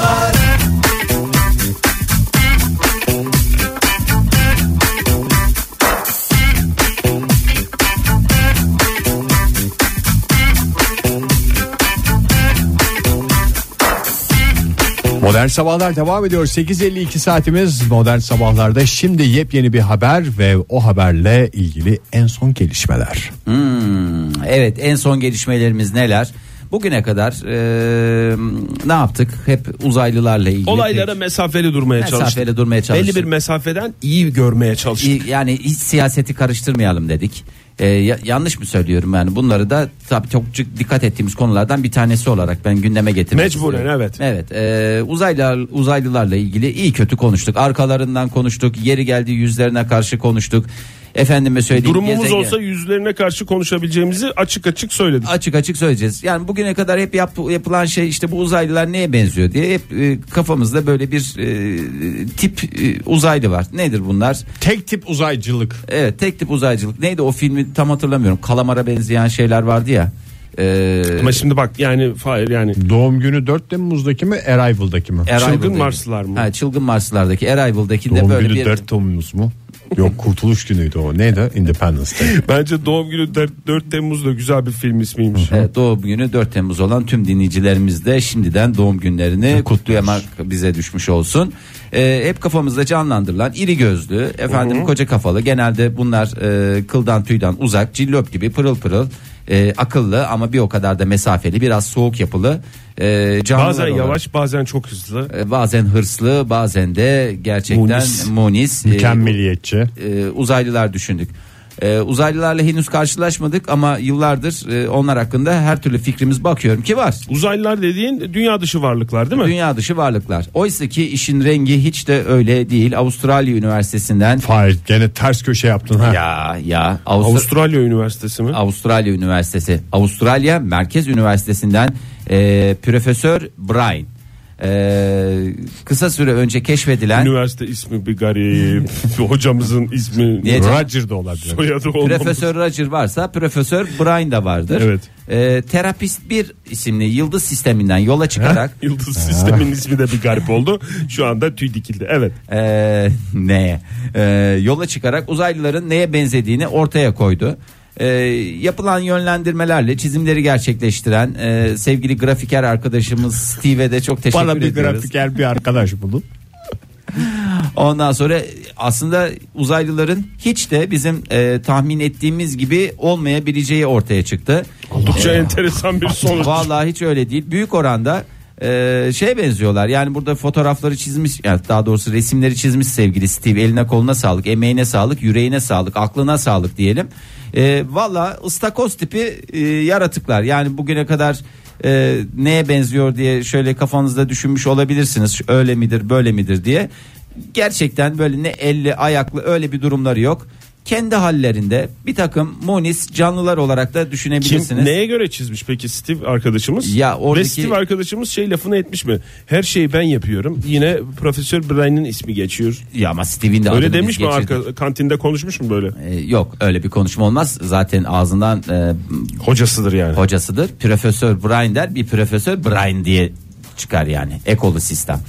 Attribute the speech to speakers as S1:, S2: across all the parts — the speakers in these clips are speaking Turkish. S1: Sabahlar
S2: Modern Sabahlar devam ediyor. 8.52 saatimiz Modern Sabahlar'da. Şimdi yepyeni bir haber ve o haberle ilgili en son gelişmeler.
S3: Evet en son gelişmelerimiz neler? Bugüne kadar eee, ne yaptık? Hep uzaylılarla ilgili.
S4: Olaylara mesafeli durmaya
S3: Mesafeli
S4: çalıştık.
S3: durmaya çalıştık.
S4: Belli bir mesafeden iyi görmeye çalıştık.
S3: İyi, yani hiç siyaseti karıştırmayalım dedik. Ee, ya- yanlış mı söylüyorum yani bunları da tabii çok cık- dikkat ettiğimiz konulardan bir tanesi olarak ben gündeme getirmek
S4: Mecburen,
S3: istiyorum.
S4: evet.
S3: Evet e, uzaylılar, uzaylılarla ilgili iyi kötü konuştuk arkalarından konuştuk yeri geldiği yüzlerine karşı konuştuk. Efendime söyleyeyim
S4: Durumumuz
S3: gezegen-
S4: olsa yüzlerine karşı konuşabileceğimizi açık açık söyledik.
S3: açık açık söyleyeceğiz. Yani bugüne kadar hep yap- yapılan şey işte bu uzaylılar neye benziyor diye hep e, kafamızda böyle bir e, tip e, uzaylı var. Nedir bunlar?
S2: Tek tip uzaycılık.
S3: Evet tek tip uzaycılık. Neydi o filmi tam hatırlamıyorum. Kalamara benzeyen şeyler vardı ya. Ee,
S4: Ama şimdi bak yani Fahir yani
S2: Doğum günü 4 Temmuz'daki mi Arrival'daki mi?
S3: Arrival'daki-
S4: Çılgın Marslılar mı?
S3: Ha, çılgın Marslılardaki Arrival'daki de
S2: Doğum
S3: böyle
S2: günü
S3: bir...
S2: 4 Temmuz mu? Yok kurtuluş günüydü o. Neydi? Independence Day.
S3: Ee,
S4: bence doğum günü 4, 4 Temmuz'da güzel bir film ismiymiş.
S3: Evet, doğum günü 4 Temmuz olan tüm dinleyicilerimiz de şimdiden doğum günlerini kutlayamak bize düşmüş olsun. Ee, hep kafamızda canlandırılan iri gözlü, efendim koca kafalı. Genelde bunlar e, kıldan tüyden uzak, cillop gibi pırıl pırıl, e, akıllı ama bir o kadar da mesafeli, biraz soğuk yapılı. E, canlılar
S4: Bazen
S3: olarak-
S4: yavaş bazen çok hızlı.
S3: E, bazen hırslı bazen de gerçekten munis,
S4: Munis.
S3: e,
S2: Mükemmeliyetçi.
S3: e, uzaylılar düşündük. E, uzaylılarla henüz karşılaşmadık ama yıllardır e, onlar hakkında her türlü fikrimiz bakıyorum ki var.
S4: Uzaylılar dediğin dünya dışı varlıklar değil mi?
S3: Dünya dışı varlıklar. Oysa ki işin rengi hiç de öyle değil. Avustralya Üniversitesi'nden
S2: Hayır gene ters köşe yaptın ha.
S3: ya ya Avustra-
S4: Avustralya Üniversitesi mi?
S3: Avustralya Üniversitesi. Avustralya Merkez Üniversitesi'nden e, Profesör Brian. E, kısa süre önce keşfedilen
S4: Üniversite ismi bir garip. Hocamızın ismi
S3: Niye canım?
S2: Roger da olabilir.
S4: soyadı olmamış.
S3: Profesör Roger varsa Profesör Brian da vardır.
S4: Evet.
S3: Ee, terapist 1 isimli yıldız sisteminden yola çıkarak
S4: Yıldız sistemin ismi de bir garip oldu. Şu anda tüy dikildi. Evet.
S3: ee, neye Ee, yola çıkarak uzaylıların neye benzediğini ortaya koydu. Ee, yapılan yönlendirmelerle çizimleri gerçekleştiren ee, sevgili grafiker arkadaşımız Steve'e de çok teşekkür
S2: Bana bir
S3: ediyoruz.
S2: grafiker bir arkadaş bulun.
S3: Ondan sonra aslında uzaylıların hiç de bizim ee, tahmin ettiğimiz gibi olmayabileceği ortaya çıktı.
S4: Oldukça enteresan bir sonuç.
S3: Vallahi hiç öyle değil. Büyük oranda e, şeye benziyorlar. Yani burada fotoğrafları çizmiş, yani daha doğrusu resimleri çizmiş sevgili Steve. Eline koluna sağlık, emeğine sağlık, yüreğine sağlık, aklına sağlık diyelim. E, Valla ıstakoz tipi e, yaratıklar. Yani bugüne kadar e, neye benziyor diye şöyle kafanızda düşünmüş olabilirsiniz. Öyle midir, böyle midir diye. Gerçekten böyle ne elli ayaklı öyle bir durumları yok. Kendi hallerinde bir takım munis canlılar olarak da
S4: Kim
S3: düşünebilirsiniz.
S4: neye göre çizmiş peki Steve arkadaşımız?
S3: Ya oradaki-
S4: Ve Steve arkadaşımız şey lafını etmiş mi? Her şeyi ben yapıyorum. Yine Profesör Brian'in ismi geçiyor.
S3: Ya ama Steve'in de adını
S4: Öyle
S3: biz
S4: demiş mi
S3: geçirdik.
S4: arka, kantinde konuşmuş mu böyle?
S3: Ee, yok öyle bir konuşma olmaz. Zaten ağzından e,
S4: Hocasıdır yani.
S3: hocasıdır. Profesör Brian der bir profesör Brian diye çıkar yani. Ekolu sistem.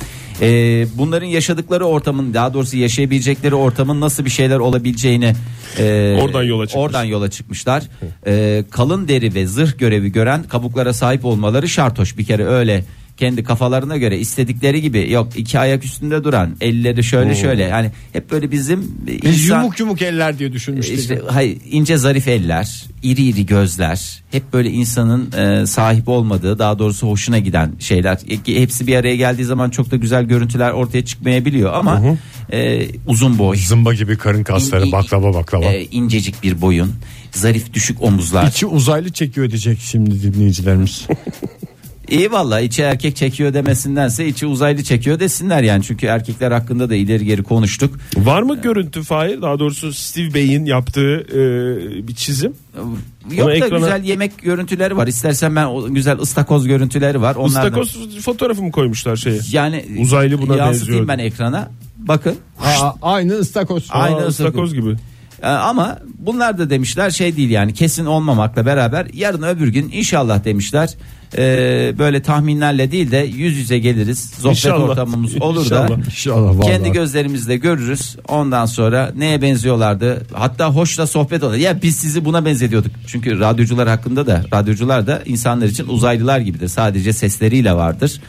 S3: Ee, bunların yaşadıkları ortamın daha doğrusu yaşayabilecekleri ortamın nasıl bir şeyler olabileceğini e,
S4: Oradan yola çıkmış.
S3: oradan yola çıkmışlar. Ee, kalın deri ve zırh görevi gören kabuklara sahip olmaları şartoş bir kere öyle kendi kafalarına göre istedikleri gibi yok iki ayak üstünde duran elleri şöyle şöyle yani hep böyle bizim
S2: Biz
S3: insan-
S2: yumuk yumuk eller diye düşünmüştük.
S3: Ee, işte hayır, ince zarif eller, iri iri gözler, hep böyle insanın e, sahip olmadığı, daha doğrusu hoşuna giden şeyler. E, Hepsi bir araya geldiği zaman çok da güzel görüntüler ortaya çıkmayabiliyor ama e, uzun boy,
S2: Zımba gibi karın
S3: İ-
S2: kasları
S3: i-
S2: baklava baklava.
S3: e, incecik bir boyun, zarif düşük omuzlar.
S2: İçi uzaylı çekiyor diyecek şimdi dinleyicilerimiz.
S3: İyi valla içi erkek çekiyor demesindense içi uzaylı çekiyor desinler yani. Çünkü erkekler hakkında da ileri geri konuştuk.
S4: Var mı görüntü Fahir? Daha doğrusu Steve Bey'in yaptığı e, bir çizim.
S3: Yok da
S4: ekrana-
S3: güzel yemek görüntüleri var. İstersen ben o güzel ıstakoz görüntüleri var. Onlardan...
S4: İstakoz fotoğrafı mı koymuşlar şeye?
S3: Yani
S4: Uzaylı buna
S3: yansıtayım
S4: benziyor.
S3: ben ekrana. Bakın.
S2: Aa, aynı ıstakoz.
S3: Aynı
S4: Aa, ıstakoz gibi.
S3: Ee, ama bunlar da demişler şey değil yani kesin olmamakla beraber yarın öbür gün inşallah demişler e, böyle tahminlerle değil de yüz yüze geliriz. Sohbet
S4: İnşallah.
S3: ortamımız olur da
S4: İnşallah.
S2: İnşallah vallahi.
S3: kendi gözlerimizle görürüz. Ondan sonra neye benziyorlardı? Hatta hoşla sohbet olur. Ya biz sizi buna benzetiyorduk. Çünkü radyocular hakkında da radyocular da insanlar için uzaylılar gibidir. Sadece sesleriyle vardır.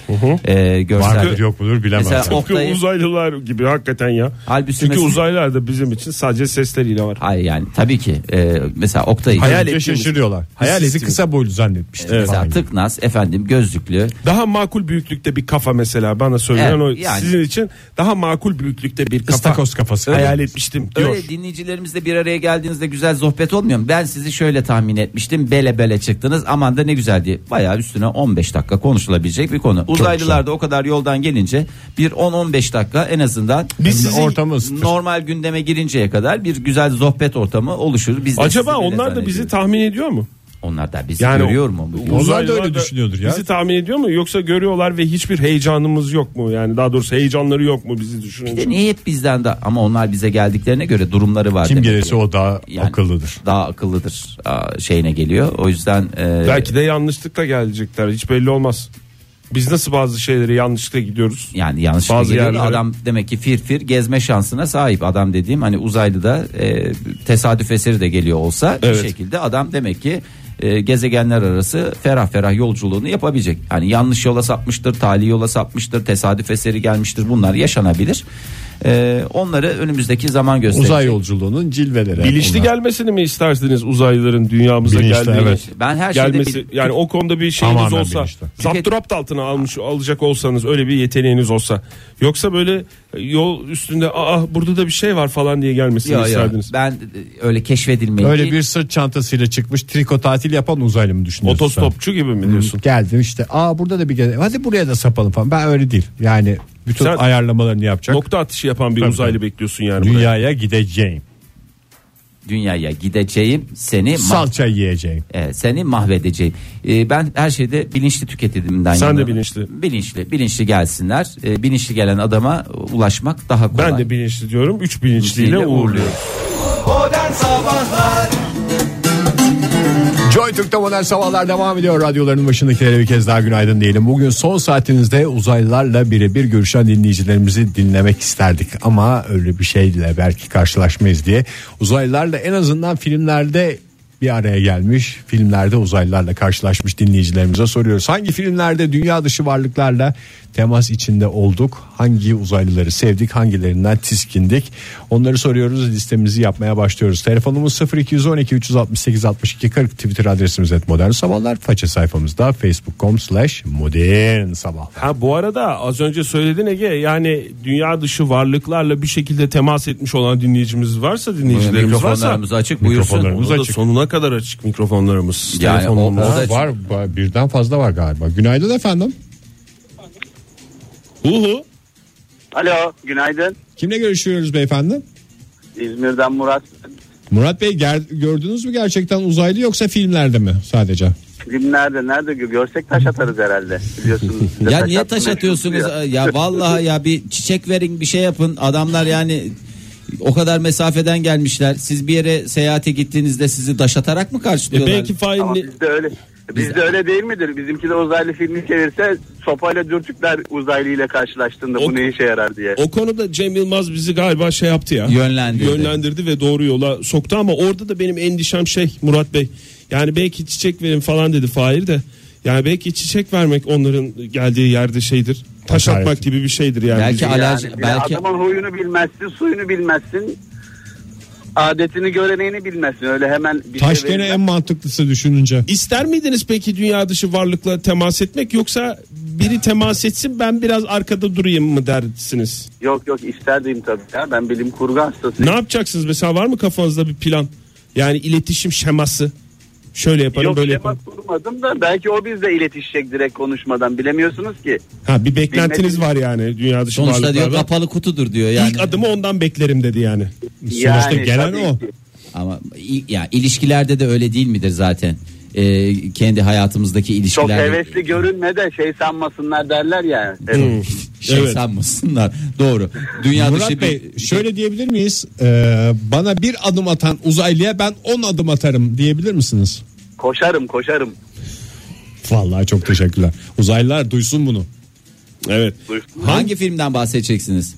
S3: E, görsel.
S2: Vardır yok mudur bilemem.
S3: Mesela
S2: Sen.
S3: o-
S4: Tıpkı
S3: Oktay'ı-
S4: uzaylılar gibi hakikaten ya.
S3: Halbuki
S4: Çünkü
S3: mesela-
S4: uzaylılar da bizim için sadece sesleriyle var.
S3: Hayır yani tabii ki E, mesela Oktay
S2: Hayal
S4: Hayal şey,
S2: edince
S4: ettiğimiz-
S2: şaşırıyorlar.
S4: Hayal
S2: Hayal sizi
S4: ettiğimiz-
S2: kısa boylu zannetmiştik.
S3: mesela
S2: falan gibi.
S3: tıknaz efendim gözlüklü
S4: Daha makul büyüklükte bir kafa mesela bana söylenen
S3: Evet,
S4: o
S3: yani.
S4: sizin için daha makul büyüklükte bir kafa.
S2: İstakoz kafası.
S4: Hayal etmiştim diyor.
S3: Öyle dinleyicilerimizle bir araya geldiğinizde güzel sohbet olmuyor mu? Ben sizi şöyle tahmin etmiştim. Bele bele çıktınız. Aman da ne güzel diye. Bayağı üstüne 15 dakika konuşulabilecek bir konu. Uzaylılar da o kadar yoldan gelince bir 10-15 dakika en azından
S2: Biz
S3: bizim
S2: sizi- ortamı ısıtır.
S3: normal gündeme girinceye kadar bir güzel sohbet ortamı oluşur. Biz de
S4: Acaba
S3: sizi bile
S4: onlar da bizi
S3: zannediyoruz.
S4: tahmin ediyor mu?
S3: onlar da bizi
S4: Yani
S3: görüyor mu?
S2: da
S4: Uzaylılar
S2: öyle düşünüyordur ya.
S4: Bizi tahmin ediyor mu yoksa görüyorlar ve hiçbir heyecanımız yok mu? Yani daha doğrusu heyecanları yok mu bizi
S3: Bir de
S4: düşününce?
S3: niye hep bizden de ama onlar bize geldiklerine göre durumları var.
S2: Kim
S3: demek ki.
S2: gelirse o daha
S3: Yani
S2: akıllıdır.
S3: Daha akıllıdır aa, şeyine geliyor. O yüzden e,
S4: Belki de yanlışlıkla gelecekler hiç belli olmaz. Biz nasıl bazı şeyleri yanlışlıkla gidiyoruz?
S3: Yani yanlış
S4: Bazı
S3: geliyor.
S4: yerlere-
S3: Adam demek ki fir fir gezme şansına sahip. Adam dediğim hani uzaylı da e, tesadüf eseri de geliyor olsa
S4: Evet.
S3: bir şekilde adam demek ki e, gezegenler arası ferah ferah yolculuğunu yapabilecek. Hani yanlış yola sapmıştır, tali yola sapmıştır, tesadüf eseri gelmiştir. Bunlar yaşanabilir. E, onları önümüzdeki zaman gösterecek.
S2: Uzay yolculuğunun cilveleri.
S4: Bilinçli
S2: Onlar.
S4: gelmesini mi istersiniz uzaylıların dünyamıza
S2: Bilinçli,
S4: geldiğini?
S2: evet.
S3: Ben her şeyde
S4: gelmesi
S3: bir-
S4: yani o konuda bir şeyiniz
S2: Tamamen
S4: olsa
S2: bilinçli.
S4: zapturapt altına almış alacak olsanız öyle bir yeteneğiniz olsa yoksa böyle e, yol üstünde aa burada da bir şey var falan diye gelmesini
S3: Yo, yo.
S4: isterdiniz.
S3: Ben e, öyle keşfedilmeyi
S2: Öyle bir sırt çantasıyla çıkmış triko tatil yapan uzaylı mı düşünüyorsun? sen?
S4: Otostopçu gibi mi diyorsun?
S2: Geldim işte aa burada da bir gele hadi buraya da sapalım falan. Ben öyle değil. Yani bütün
S4: Sen-
S2: ayarlamalarını yapacak.
S4: Nokta atışı yapan bir
S2: Tabii,
S4: uzaylı
S2: tabii.
S4: bekliyorsun yani. buraya.
S2: Dünyaya gideceğim.
S3: dünyaya gideceğim seni mah-
S2: Salça yiyeceğim.
S3: e, seni mahvedeceğim. E, ben her şeyde bilinçli tüketimimden
S4: Sen de
S3: yanayım.
S4: bilinçli.
S3: Bilinçli, bilinçli gelsinler. E, bilinçli gelen adama e, ulaşmak daha kolay.
S4: Ben de bilinçli diyorum. Üç bilinçliyle
S3: Bilinçliyle
S4: uğurluyorum.
S2: Joy Türk'te modern sabahlar devam ediyor. Radyoların başındakilere bir kez daha günaydın diyelim. Bugün son saatinizde uzaylılarla birebir görüşen dinleyicilerimizi dinlemek isterdik. Ama öyle bir şeyle belki karşılaşmayız diye. Uzaylılarla en azından filmlerde bir araya gelmiş filmlerde uzaylılarla karşılaşmış dinleyicilerimize soruyoruz. Hangi filmlerde dünya dışı varlıklarla temas içinde olduk? Hangi uzaylıları sevdik? Hangilerinden tiskindik? Onları soruyoruz. Listemizi yapmaya başlıyoruz. Telefonumuz 0212 368 62 40 Twitter adresimiz et modern sabahlar. Faça sayfamızda facebook.com slash modern sabahlar.
S4: Ha bu arada az önce söyledin Ege yani dünya dışı varlıklarla bir şekilde temas etmiş olan dinleyicimiz varsa dinleyicilerimiz varsa
S3: Mikrofonlarımız açık buyursun.
S4: mikrofonlarımız
S3: Onu da
S4: açık. sonuna kadar açık mikrofonlarımız.
S3: Yani
S4: telefonlarımız.
S3: o- o da-
S2: Var, var birden fazla var galiba. Günaydın efendim.
S4: Uhu.
S1: Alo günaydın.
S2: Kimle görüşüyoruz beyefendi?
S1: İzmir'den Murat.
S2: Murat Bey ger- gördünüz mü gerçekten uzaylı yoksa filmlerde mi sadece?
S1: Filmlerde nerede görsek taş atarız herhalde. Biliyorsunuz. bize
S3: Ya niye taş
S1: atmak
S3: atıyorsunuz?
S1: istiyor.
S3: Ya vallahi ya bir çiçek verin bir şey yapın. Adamlar yani o kadar mesafeden gelmişler. Siz bir yere seyahate gittiğinizde sizi taş atarak mı
S4: E
S3: karşılıyorlar?
S4: belki fail
S1: Ama bizde öyle. Bizde öyle değil midir? Bizimki de uzaylı filmi çevirse sopayla dürtükler uzaylı ile karşılaştığında
S4: O-
S1: bu ne işe yarar diye.
S4: O konuda Cem Yılmaz bizi galiba şey yaptı ya.
S3: Yönlendirdi.
S4: Yönlendirdi ve doğru yola soktu ama orada da benim endişem şey Murat Bey. Yani belki çiçek verin falan dedi Fahir de. Yani belki çiçek vermek onların geldiği yerde şeydir. Taş
S2: Hakaret.
S4: atmak gibi bir şeydir yani.
S3: Belki
S4: Bizim-
S3: al- alerji-
S1: bir de
S3: belki-
S1: Adamın huyunu bilmezsin, suyunu bilmezsin. Adetini göreneğini bilmezsin. Öyle hemen bir
S2: Taş
S1: şey
S2: gene
S1: verirler.
S2: en mantıklısı düşününce.
S4: İster miydiniz peki dünya dışı varlıkla temas etmek yoksa biri temas etsin ben biraz arkada durayım mı dersiniz?
S1: Yok yok isterdim tabii ya. Ben bilim kurgu hastasıyım.
S4: Ne yapacaksınız mesela var mı kafanızda bir plan? Yani iletişim şeması. Şöyle yaparım
S1: Yok
S4: böyle
S1: temas
S4: yaparım.
S1: kurmadım da belki o bizle iletişecek direkt konuşmadan bilemiyorsunuz ki.
S4: Ha bir beklentiniz var yani dünya dışı
S3: Sonuçta diyor
S4: varlıklardan.
S3: kapalı kutudur diyor yani.
S4: İlk adımı ondan beklerim dedi yani.
S2: Sonuçta gelen
S1: tabii
S2: o.
S1: ki.
S3: Ama i- ya ilişkilerde de öyle değil midir zaten? Ee, kendi hayatımızdaki
S1: Çok
S3: ilişkilerde
S1: hevesli görünme de şey sanmasınlar derler ya. Evet.
S3: şey
S4: Evet.
S3: sanmasınlar. Doğru. Dünya dışı
S2: Murat Bey
S3: şey bir
S2: şöyle diyebilir miyiz? Ee, bana bir adım atan uzaylıya ben 10 adım atarım diyebilir misiniz?
S1: Koşarım koşarım.
S2: Vallahi çok teşekkürler. Uzaylılar duysun bunu.
S4: Evet.
S1: Duysun.
S3: Hangi filmden bahsedeceksiniz?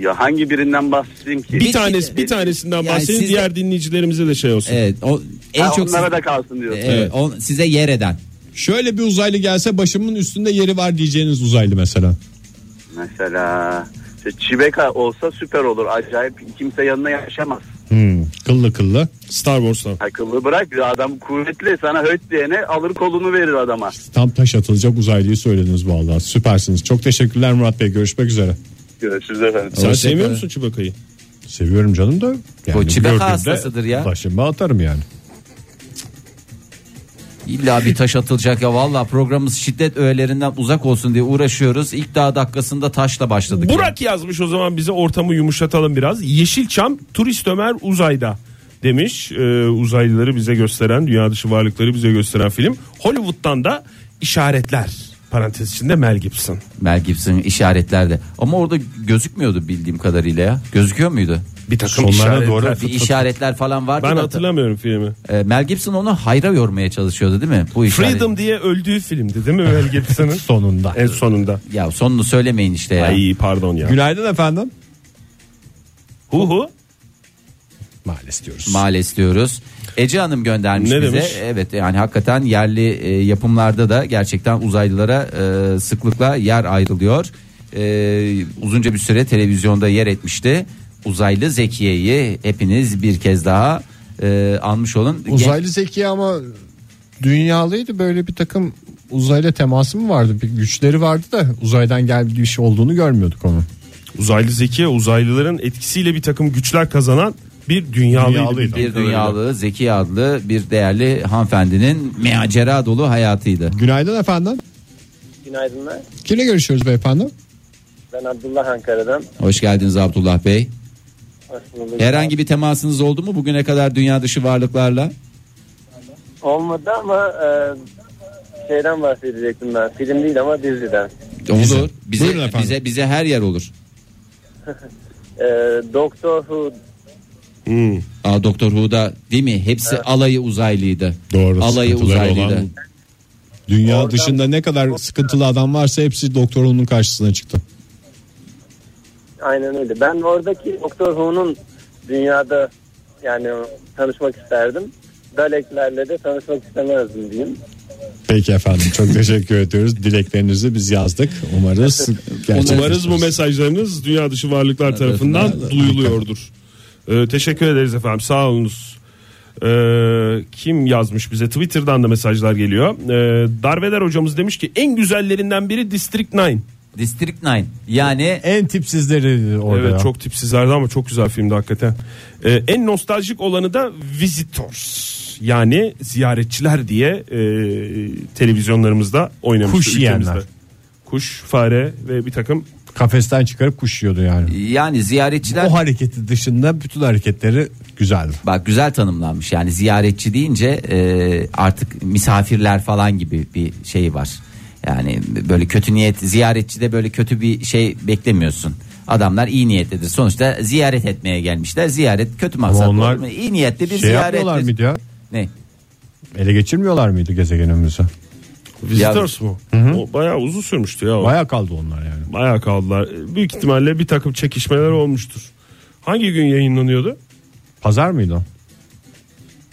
S1: Ya hangi birinden bahsedeyim ki?
S4: Bir tanesi bir tanesinden
S3: Yani
S4: bahsedin
S3: siz de-
S4: diğer dinleyicilerimize de şey olsun.
S3: Evet, o en
S1: Ha,
S3: çok
S1: onlara
S3: siz-
S1: da kalsın diyorsun.
S3: Evet, on- size yer eden.
S2: Şöyle bir uzaylı gelse başımın üstünde yeri var diyeceğiniz uzaylı mesela.
S1: Mesela işte Çibeka olsa süper olur. Acayip kimse yanına yaşamaz.
S2: Hmm, kıllı kıllı.
S4: Star Wars'tan.
S1: Akıllı bırak adam kuvvetli sana höt diyene alır kolunu verir adama.
S2: Tam taş atılacak uzaylıyı söylediniz vallahi. Süpersiniz. Çok teşekkürler Murat Bey. Görüşmek üzere.
S1: Görüşürüz efendim.
S4: Sen
S3: Hoşça
S4: sevmiyor
S3: kalın.
S4: musun Chewbacca'yı?
S2: Seviyorum canım da. Yani
S3: Bu Çibeka
S2: gördüğümde
S3: hastasıdır ya.
S2: Başıma atarım yani.
S3: İlla bir taş atılacak ya valla programımız şiddet öğelerinden uzak olsun diye uğraşıyoruz. İlk daha dakikasında taşla başladık. ya.
S4: Burak yazmış o zaman bize ortamı yumuşatalım biraz. Yeşilçam turist Ömer uzayda demiş. Ee, uzaylıları bize gösteren, dünya dışı varlıkları bize gösteren film. Hollywood'dan da işaretler parantez içinde Mel Gibson.
S3: Mel Gibson işaretlerde. Ama orada gözükmüyordu bildiğim kadarıyla ya. Gözüküyor muydu?
S4: Bir takım
S2: Sonlara
S4: işaretler.
S2: doğru
S3: Bir işaretler falan vardı.
S4: Ben
S3: da-
S4: hatırlamıyorum filmi.
S3: E, Mel Gibson onu hayra yormaya çalışıyordu değil mi? Bu işaret.
S4: Freedom diye öldüğü filmdi değil mi Mel Gibson'ın?
S2: Sonunda.
S4: en sonunda.
S3: Ya sonunu söylemeyin işte ya.
S4: Ay pardon ya.
S2: Günaydın efendim.
S4: Hu hu.
S2: Maalesef diyoruz.
S3: Maalesef diyoruz. Ece Hanım göndermiş
S4: Ne
S3: bize.
S4: demiş?
S3: Evet yani hakikaten yerli e, yapımlarda da gerçekten uzaylılara e, sıklıkla yer ayrılıyor. E, uzunca bir süre televizyonda yer etmişti. Uzaylı Zekiye'yi hepiniz bir kez daha e, almış olun.
S2: Uzaylı zeki ama dünyalıydı böyle bir takım uzayla teması mı vardı? Bir güçleri vardı da uzaydan geldiği bir şey olduğunu görmüyorduk onu.
S4: Uzaylı Zeki uzaylıların etkisiyle bir takım güçler kazanan bir dünyalıydı.
S2: Dünyalıydı.
S3: bir dünyalı Zeki adlı bir değerli hanımefendinin macera dolu hayatıydı.
S2: Günaydın efendim.
S5: Günaydınlar.
S2: Kimle görüşüyoruz beyefendi?
S5: Ben Abdullah Ankara'dan.
S3: Hoş geldiniz Abdullah Bey.
S5: Aslında
S3: Herhangi bir temasınız oldu mu bugüne kadar dünya dışı varlıklarla?
S5: olmadı ama e, şeyden bahsedecektim ben. Film değil ama diziden.
S3: Olur.
S2: Buyurun
S3: Bize,
S2: efendim.
S3: bize bize her yer olur.
S5: E, Doctor Who
S4: Hmm.
S3: Aa, Doktor Who'da değil mi? Hepsi alayı uzaylıydı.
S2: Doğru,
S3: Alayı
S2: sıkıntıları
S3: uzaylıydı.
S2: olan- Dünya
S5: Oradan-
S2: dışında ne kadar sıkıntılı adam varsa hepsi doktorunun karşısına çıktı.
S5: aynen öyle. Ben oradaki Doctor Who'nun dünyada yani tanışmak isterdim. Daleklerle de tanışmak istemezdim diyeyim.
S2: Peki efendim çok teşekkür ediyoruz. Dileklerinizi biz yazdık. Umarız gerçekleşir.
S4: Umarız bu mesajlarınız dünya dışı varlıklar tarafından duyuluyordur. Ee, teşekkür ederiz efendim sağ olunuz. Ee, kim yazmış bize Twitter'dan da mesajlar geliyor. Ee, Darveder hocamız demiş ki en güzellerinden biri District 9.
S3: District 9. Yani
S2: en tipsizleri orada.
S4: Evet
S2: ya.
S4: çok tipsizlerdi ama çok güzel filmdi hakikaten. Ee, en nostaljik olanı da Visitors. Yani ziyaretçiler diye e, televizyonlarımızda oynamıştı.
S2: Kuş yiyenler.
S4: ülkemizde. Kuş, fare ve bir takım
S2: kafesten çıkarıp kuş yiyordu yani.
S3: yani ziyaretçiler
S2: O hareketi dışında bütün hareketleri Şey güzeldi.
S3: bak güzel tanımlanmış. Yani ziyaretçi deyince e, artık misafirler falan gibi bir şey var. Yani böyle kötü niyet ziyaretçide böyle kötü bir şey beklemiyorsun. Adamlar iyi niyetlidir. Sonuçta ziyaret etmeye gelmişler. Ziyaret kötü maksatlı.
S2: onlar
S3: olmuyor. iyi niyetli bir
S2: şey yapmıyorlar
S3: ziyarettir.
S2: mıydı ya?
S3: Ne?
S2: Ele geçirmiyorlar mıydı gezegenimizi?
S4: Visitors mu? O bayağı uzun sürmüştü ya. o.
S2: Baya kaldı onlar yani.
S4: Bayağı kaldılar. Büyük ihtimalle bir takım çekişmeler olmuştur. Hangi gün yayınlanıyordu?
S2: Pazar mıydı o?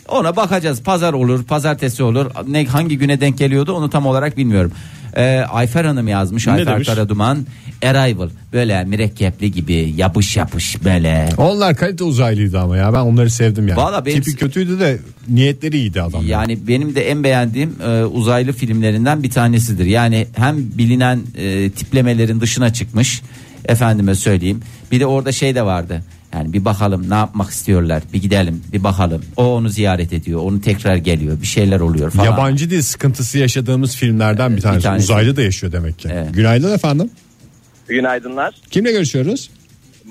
S3: Ona bakacağız. Pazar olur, pazartesi olur. Ne hangi güne denk geliyordu onu tam olarak bilmiyorum. Ee, Ayfer Hanım yazmış.
S4: Ne
S3: Ayfer
S4: demiş?
S3: Karaduman. Arrival. Böyle mürekkepli gibi yapış yapış böyle.
S2: Onlar kalite uzaylıydı ama ya ben onları sevdim yani.
S3: Vallahi benim-
S2: Tipi kötüydü de niyetleri iyiydi adam.
S3: Yani benim de en beğendiğim e, uzaylı filmlerinden bir tanesidir. Yani hem bilinen e, tiplemelerin dışına çıkmış. Efendime söyleyeyim. Bir de orada şey de vardı. Yani bir bakalım ne yapmak istiyorlar. Bir gidelim, bir bakalım. O onu ziyaret ediyor. Onu tekrar geliyor. Bir şeyler oluyor falan.
S2: Yabancı dil sıkıntısı yaşadığımız filmlerden bir tanesi.
S3: tanesi.
S2: Uzaylı da yaşıyor demek ki.
S3: Evet.
S2: Günaydın efendim.
S5: Günaydınlar.
S2: Kimle görüşüyoruz?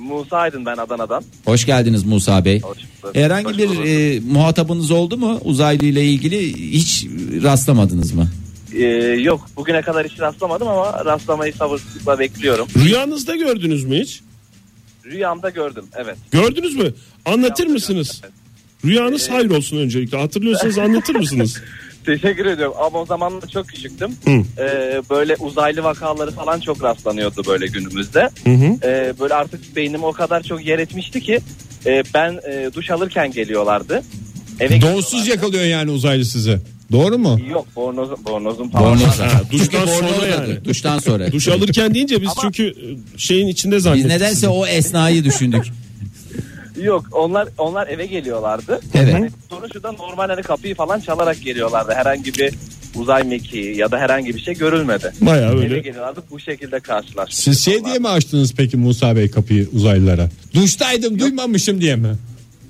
S5: Musa Aydın ben Adana'dan.
S3: Hoş geldiniz Musa Bey.
S5: Hoş bulduk.
S3: Herhangi
S5: Hoş
S3: bir
S5: bulduk.
S3: e, muhatabınız oldu mu uzaylı ile ilgili hiç rastlamadınız mı?
S5: Ee, yok bugüne kadar hiç rastlamadım ama rastlamayı sabırsızlıkla bekliyorum.
S4: Rüyanızda gördünüz mü hiç?
S5: Rüyamda gördüm evet.
S4: Gördünüz mü? Anlatır mısınız? Rüyanız hayır olsun öncelikle. Hatırlıyorsanız anlatır mısınız?
S5: Teşekkür ediyorum ama o zaman da çok küçüktüm. Ee, böyle uzaylı vakaları falan çok rastlanıyordu böyle günümüzde. Ee, böyle artık beynime o kadar çok yer etmişti ki e, ben e, duş alırken geliyorlardı. Eve
S2: Donsuz yakalıyor yani uzaylı sizi. Doğru mu?
S5: Yok bornoz, bornozum falan.
S3: Bornoz.
S4: duştan
S3: Bornoz
S4: sonra
S3: da-
S4: yani.
S3: Duştan sonra.
S4: Duş alırken deyince biz çünkü e, şeyin içinde
S3: Biz
S4: zannettik.
S3: nedense o esnayı düşündük.
S5: Yok onlar onlar eve geliyorlardı.
S3: Evet.
S5: Hani Sorun şu da normal hani kapıyı falan çalarak geliyorlardı. Herhangi bir uzay mekiği ya da herhangi bir şey görülmedi.
S4: Baya
S5: Eve
S4: öyle.
S5: geliyorlardı bu şekilde karşılaştık.
S2: Siz şey diye mi açtınız peki Musa Bey kapıyı uzaylılara? Duştaydım duymamışım diye mi?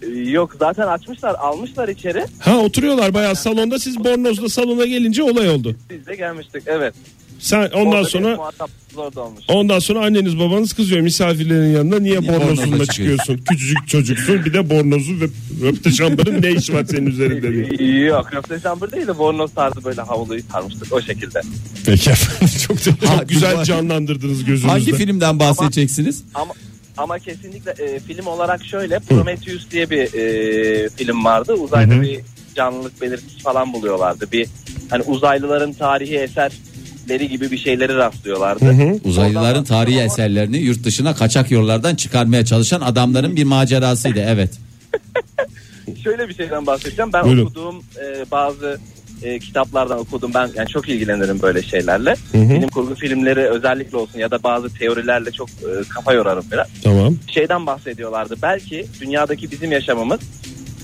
S5: e, Yok zaten açmışlar almışlar içeri.
S4: Ha oturuyorlar bayağı salonda siz bornozla salona gelince olay oldu.
S5: Biz de gelmiştik evet.
S4: Sen ondan
S5: Orada bir
S4: sonra
S5: muhatap orada olmuş.
S4: ondan sonra anneniz babanız kızıyor misafirlerin yanında niye bornozunla
S3: bornozla
S4: çıkıyorsun? Küçücük çocuksun bir de bornozu ve röpte şambarın ne işi var senin üzerinde diye.
S5: Yok röpte şambır değil de bornoz tarzı böyle havluyu sarmıştık o şekilde.
S2: Peki efendim çok da
S4: Çok güzel canlandırdınız gözünüzde.
S3: Hangi filmden bahsedeceksiniz?
S5: Ama ama kesinlikle e, film olarak şöyle Prometheus diye bir e, film vardı. Uzayda bir canlılık belirtisi falan buluyorlardı. Bir hani uzaylıların tarihi eserleri gibi bir şeyleri rastlıyorlardı.
S3: Uzaylıların tarihi eserlerini yurt dışına kaçak yollardan çıkarmaya çalışan adamların bir macerasıydı. Evet.
S5: Şöyle bir şeyden bahsedeceğim. Ben
S4: Buyurun.
S5: okuduğum e, bazı e, kitaplardan okudum. Ben yani çok ilgilenirim böyle şeylerle. Bilim kurgu filmleri özellikle olsun ya da bazı teorilerle çok e, kafa yorarım biraz.
S4: Tamam.
S5: şeyden bahsediyorlardı. Belki dünyadaki bizim yaşamımız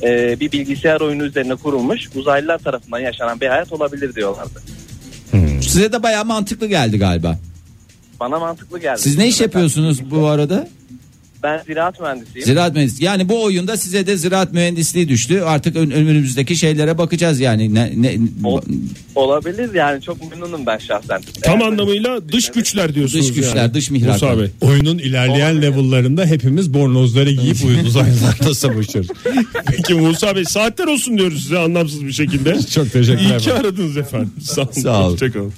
S5: e, bir bilgisayar oyunu üzerine kurulmuş uzaylılar tarafından yaşanan bir hayat olabilir diyorlardı.
S3: Size de bayağı mantıklı geldi galiba.
S5: Bana mantıklı geldi.
S3: Siz ne iş yapıyorsunuz bu arada?
S5: Ben ziraat mühendisiyim.
S3: Ziraat mühendisi. Yani bu oyunda size de ziraat mühendisliği düştü. Artık ön- önümüzdeki şeylere bakacağız yani. Ne, ne,
S5: Ol- olabilir yani çok memnunum ben şahsen.
S4: Tam
S5: Eğer-
S4: anlamıyla dış güçler diyorsunuz
S3: Dış güçler,
S4: yani.
S3: dış mihraklar.
S4: Musa Bey.
S2: Oyunun ilerleyen level'larında hepimiz bornozları giyip uzaylılarla savaşıyoruz.
S4: Peki Musa Bey saatler olsun diyoruz size anlamsız bir şekilde.
S2: Çok teşekkürler.
S4: İyi ki aradınız efendim. Sağ olun.
S3: Sağ olun.
S4: Hoşçakalın.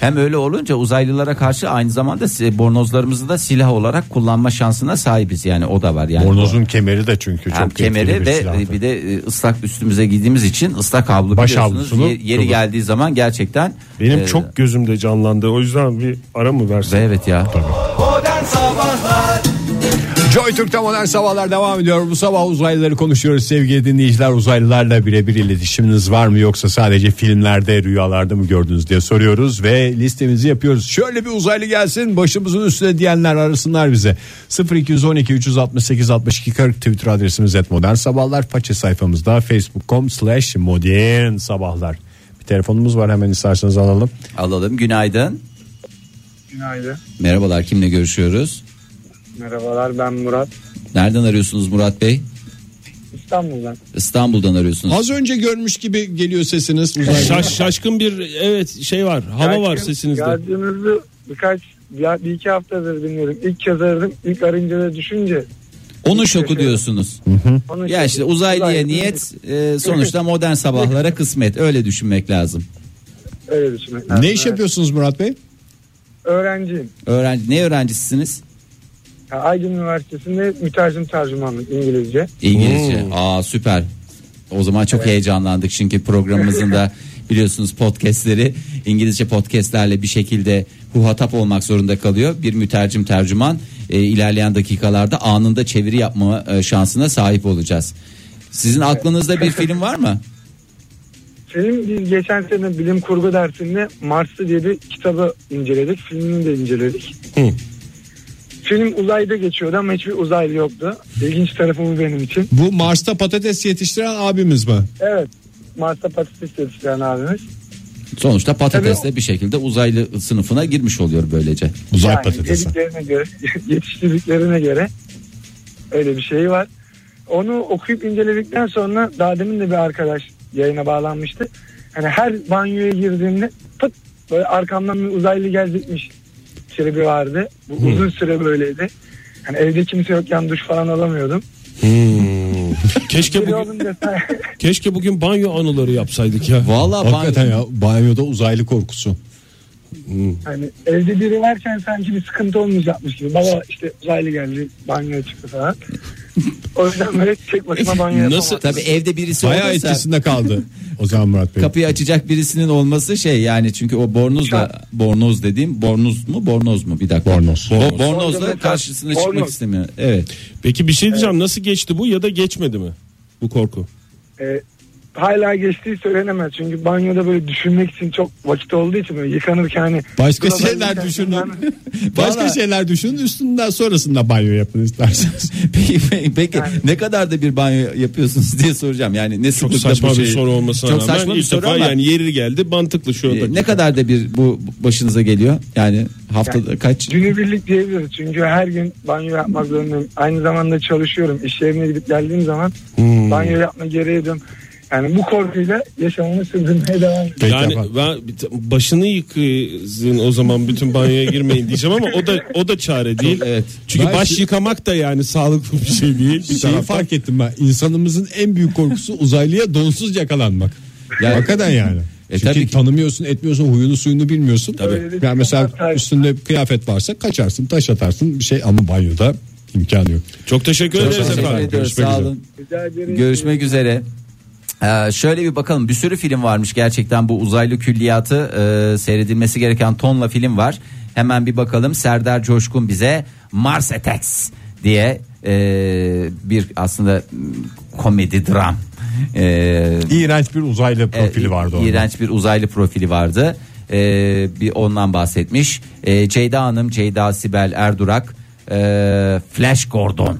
S3: Hem öyle olunca uzaylılara karşı aynı zamanda si- bornozlarımızı da silah olarak kullanma şansına sahibiz. Yani o da var yani.
S2: Bornozun kemeri de çünkü çok
S3: hem
S2: etkili
S3: kemeri
S2: bir
S3: ve
S2: silahdır.
S3: bir de e, ıslak üstümüze giydiğimiz için ıslak havlu
S2: Baş
S3: biliyorsunuz.
S2: havlusunu
S3: Ye- yeri
S2: kıvır-
S3: geldiği zaman gerçekten
S4: Benim
S3: e,
S4: çok gözümde canlandı. O yüzden bir ara mı versin?
S3: Evet ya.
S2: Joy Türk'te modern sabahlar devam ediyor. Bu sabah uzaylıları konuşuyoruz sevgili dinleyiciler. Uzaylılarla birebir iletişiminiz var mı yoksa sadece filmlerde rüyalarda mı gördünüz diye soruyoruz ve listemizi yapıyoruz. Şöyle bir uzaylı gelsin başımızın üstüne diyenler arasınlar bize. 0212 368 62 40 Twitter adresimiz et modern sabahlar. Faça sayfamızda facebook.com slash modern sabahlar. Bir telefonumuz var hemen isterseniz alalım.
S3: Alalım. Günaydın.
S6: Günaydın.
S3: Merhabalar. Kimle görüşüyoruz?
S6: Merhabalar ben Murat.
S3: Nereden arıyorsunuz Murat Bey?
S6: İstanbul'dan.
S3: İstanbul'dan arıyorsunuz.
S2: Az önce görmüş gibi geliyor sesiniz
S4: Şaş, şaşkın bir evet şey var. Hava var sesinizde.
S6: Radyonuzda birkaç ya bir iki haftadır dinliyorum. İlk kez aradım. İlk arayınca da düşünce.
S3: Onun şoku diyorsunuz.
S6: Onun
S3: Ya işte uzaylıya niyet e, sonuçta modern sabahlara kısmet. Öyle düşünmek lazım.
S6: Öyle düşünmek lazım.
S2: Ne iş
S6: Evet.
S2: yapıyorsunuz Murat Bey?
S6: Öğrenciyim.
S3: Öğrenci ne öğrencisisiniz?
S6: Ya Aydın Üniversitesi'nde mütercim tercümanlık İngilizce.
S3: İngilizce. Aa süper. O zaman çok heyecanlandık çünkü programımızın da biliyorsunuz podcastleri İngilizce podcastlerle bir şekilde huhatap olmak zorunda kalıyor. Bir mütercim tercüman e, ilerleyen dakikalarda anında çeviri yapma e, şansına sahip olacağız. Sizin aklınızda bir film var mı?
S6: Film biz geçen sene bilim kurgu dersinde Mars'ı diye bir kitabı inceledik. Filmini de inceledik. Film uzayda geçiyordu ama hiçbir uzaylı yoktu. İlginç tarafı bu benim için.
S2: Bu Mars'ta patates yetiştiren abimiz mi?
S6: Evet. Mars'ta patates yetiştiren abimiz.
S3: Sonuçta patatesle bir şekilde uzaylı sınıfına girmiş oluyor böylece.
S2: Uzay
S6: Yani
S2: patatesi.
S6: yediklerine göre, yetiştirdiklerine göre öyle bir şey var. Onu okuyup inceledikten sonra daha demin de bir arkadaş yayına bağlanmıştı. Hani her banyoya girdiğimde pıt böyle arkamdan bir uzaylı gelecekmiş tribi vardı. Bu uzun süre böyleydi. Hani evde kimse yokken duş falan alamıyordum.
S4: Keşke
S6: Biri
S4: bugün,
S6: olunca
S4: keşke bugün banyo anıları yapsaydık ya.
S3: Vallahi
S2: Hakikaten
S3: banyo-
S2: ya banyoda uzaylı korkusu.
S6: hani evde biri varken sanki bir sıkıntı olmayacakmış gibi. Baba işte uzaylı geldi banyoya çıktı falan. O yüzden böyle tek başıma banyo yapamam.
S7: Nasıl?
S3: Tabii evde birisi
S2: Bayağı
S3: olursa
S2: etkisinde kaldı o zaman Murat Bey.
S3: kapıyı açacak birisinin olması şey yani çünkü o bornoz da bornoz dediğim bornoz mu bornoz mu bir dakika.
S2: Bornoz.
S3: O bornozla
S6: Bornozla
S3: karşısına
S6: bornoz.
S3: çıkmak istemiyor. Evet.
S7: Peki bir şey diyeceğim nasıl geçti bu ya da geçmedi mi bu korku?
S6: E, hala geçtiği söylenemez. Çünkü banyoda böyle düşünmek için çok vakit olduğu için böyle yıkanırken hani.
S2: Başka
S6: Buna ben
S2: şeyler
S6: yıkanırken
S2: düşünün.
S3: Vallahi-
S2: Başka şeyler düşünün üstünden sonrasında banyo yapın isterseniz.
S3: Peki, peki, peki ne kadar da bir banyo yapıyorsunuz diye soracağım. Yani
S7: Çok
S3: ne sıklıkla
S7: saçma
S3: bu
S7: bir
S3: şeyi-
S7: soru olmasına
S3: şey Çok
S7: rağmen
S3: saçma bir
S7: ilk
S3: soru
S7: defa
S3: ama-
S7: yani yeri geldi mantıklı şu anda.
S3: Ee, ne kadar da bir bu başınıza geliyor? Yani haftada kaç?
S6: Günübirlik diyebiliriz. Çünkü her gün banyo yapmak zorundayım. Aynı zamanda çalışıyorum. İş yerine gidip geldiğim zaman banyo yapma gereği duyuyorum. Yani bu korkuyla yaşamımı sürdürmeye devam ediyorum.
S7: yani
S2: Peki
S7: ben bir ta- başını yıkasın o zaman bütün banyoya girmeyin diyeceğim ama o da o da çare değil.
S3: evet.
S7: Çünkü
S2: Ben
S7: baş
S2: şey-
S7: yıkamak da yani sağlıklı bir şey değil. Bir
S2: Şeyi
S7: taraftan.
S2: fark ettim ben. İnsanımızın en büyük korkusu uzaylıya donsuz yakalanmak.
S3: Yani-
S2: Hakikaten yani.
S3: E,
S2: Çünkü
S3: tabii ki.
S2: tanımıyorsun, etmiyorsun, huyunu suyunu bilmiyorsun.
S6: Tabii.
S2: Yani mesela üstünde kıyafet varsa kaçarsın, taş atarsın bir şey ama banyoda imkanı yok.
S7: Çok teşekkür
S3: Çok
S7: ederiz
S3: teşekkür
S7: efendim.
S3: ediyoruz.
S2: Görüşmek
S3: Sağ
S2: üzere.
S3: olun.
S6: Rica ederim.
S3: Görüşmek üzere. Ee, şöyle bir bakalım bir sürü film varmış gerçekten bu uzaylı külliyatı e, seyredilmesi gereken tonla film var. Hemen bir bakalım Serdar Coşkun bize Mars Attacks diye e, bir aslında mm, komedi dram e,
S2: İğrenç bir uzaylı profili
S3: e,
S2: vardı orada.
S3: İğrenç bir uzaylı profili vardı. E, bir ondan bahsetmiş. E, Ceyda Hanım, Ceyda Sibel Erdurak, e, Flash Gordon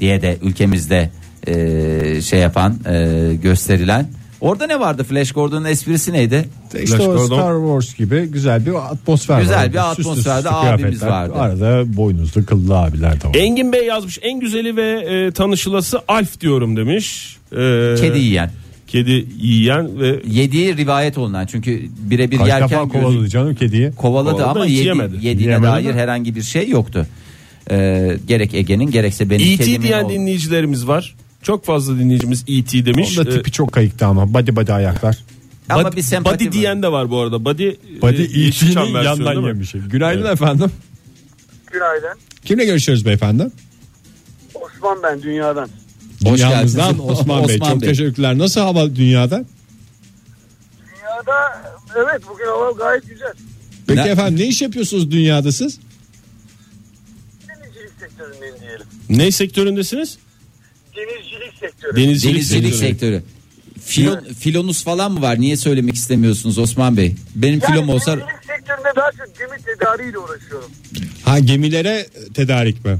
S3: diye de ülkemizde e, şey yapan, e, gösterilen. Orada ne vardı Flash Gordon'un esprisi neydi?
S2: İşte o Star Wars gibi güzel bir atmosfer
S3: Güzel
S2: vardı.
S3: bir
S2: Süslü
S3: atmosferde
S2: süslü
S3: abimiz
S2: kıyafetler.
S3: vardı.
S2: Arada boynuzlu kıllı abiler de var.
S4: Engin Bey yazmış en güzeli ve e, tanışılası Alf diyorum demiş. E,
S3: Kedi yiyen.
S4: Kedi yiyen ve
S3: Yediği rivayet olunan çünkü birebir
S2: Kaç
S3: yerken
S2: defa
S3: gözü-
S2: kovaladı canım kediyi.
S3: kovaladı,
S4: Kovaladı,
S3: ama
S4: hiç
S3: yedi,
S4: yemedi.
S3: yediğine
S2: Yemedi
S3: dair
S2: mi?
S3: herhangi bir şey yoktu. E, gerek Ege'nin gerekse benim
S7: E
S4: E.T.
S3: kedimin
S4: E diyen
S3: oldu.
S4: dinleyicilerimiz var. Çok fazla dinleyicimiz E.T. demiş.
S2: Onun
S4: E,
S2: da tipi çok kayıktı ama body body ayaklar.
S3: Ama
S4: body-
S3: bir sempati
S4: body
S3: var.
S4: diyen de var bu arada. Body,
S2: Body
S4: e, Yeşilçam
S2: E.T.'nin
S4: versiyonu
S2: yandan
S4: değil mi?
S2: yemiş. Günaydın efendim.
S1: Günaydın.
S2: Kimle görüşüyoruz beyefendi?
S1: Osman ben dünyadan.
S3: Hoş
S2: Dünyamızdan
S3: geldiniz.
S2: Osman Bey.
S3: Osman
S2: Çok
S3: Bey.
S2: teşekkürler. Nasıl hava dünyada?
S1: Dünyada evet bugün hava gayet güzel.
S2: Peki
S3: Ne-
S2: efendim ne iş yapıyorsunuz dünyada siz?
S1: Denizcilik sektöründen diyelim.
S7: Ne sektöründesiniz?
S1: Denizcilik sektörü.
S7: Denizcilik,
S3: Denizcilik
S7: sektörü.
S3: sektörü. Filon, filonuz falan mı var? Niye söylemek istemiyorsunuz Osman Bey? Benim filom olsa
S1: Denizcilik sektöründe daha çok gemi tedariğiyle uğraşıyorum.
S2: Ha gemilere tedarik mi?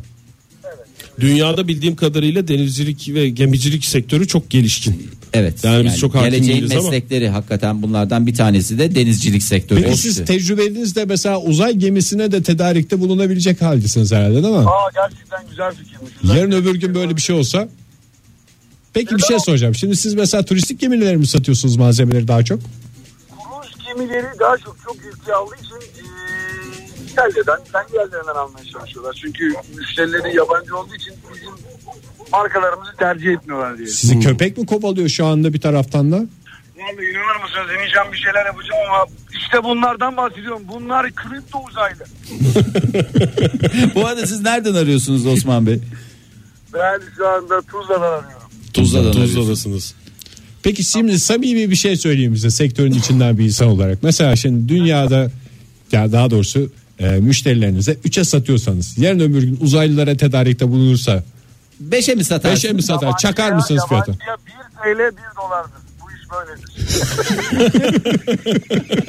S7: Dünyada bildiğim kadarıyla denizcilik ve gemicilik sektörü çok gelişkin.
S3: evet.
S7: Yani biz çok hakim
S3: geleceğin
S7: değiliz ama-
S3: meslekleri hakikaten bunlardan bir tanesi de denizcilik sektörü.
S2: Peki siz tecrübenizde mesela uzay gemisine de tedarikte bulunabilecek haldesiniz herhalde değil mi?
S1: Aa gerçekten güzel fikirmiş. Güzel
S2: Yarın
S1: fikir.
S2: öbür gün böyle bir şey olsa. Peki bir şey soracağım. Şimdi siz mesela turistik gemilere mi satıyorsunuz malzemeleri daha çok?
S1: Rus gemileri daha çok çok yüklü aldığı için eee, İtalya'dan, kendi yerlerinden almaya çalışıyorlar. Çünkü müşterileri yabancı olduğu için bizim markalarımızı tercih etmiyorlar diye.
S3: Hmm.
S2: Sizi köpek mi kovalıyor şu anda bir taraftan da?
S1: Vallahi inanır mısınız deneyeceğim bir şeyler yapacağım ama işte bunlardan bahsediyorum. Bunlar kripto uzaylı.
S3: Bu arada siz nereden arıyorsunuz Osman Bey?
S1: Ben şu anda Tuzla'dan arıyorum.
S3: Tuzla'dan arıyorsunuz.
S7: Tuzla'dasınız.
S2: Peki şimdi samimi bir şey söyleyeyim size sektörün içinden bir insan olarak. Mesela şimdi dünyada ya daha doğrusu e, müşterilerinize 3'e satıyorsanız yarın öbür gün uzaylılara tedarikte bulunursa
S3: Beşe mi satarsın?
S2: 5'e mi satar çakar mısınız fiyatı?
S1: Yabancıya 1 TL 1 dolardır. Bu iş böyledir.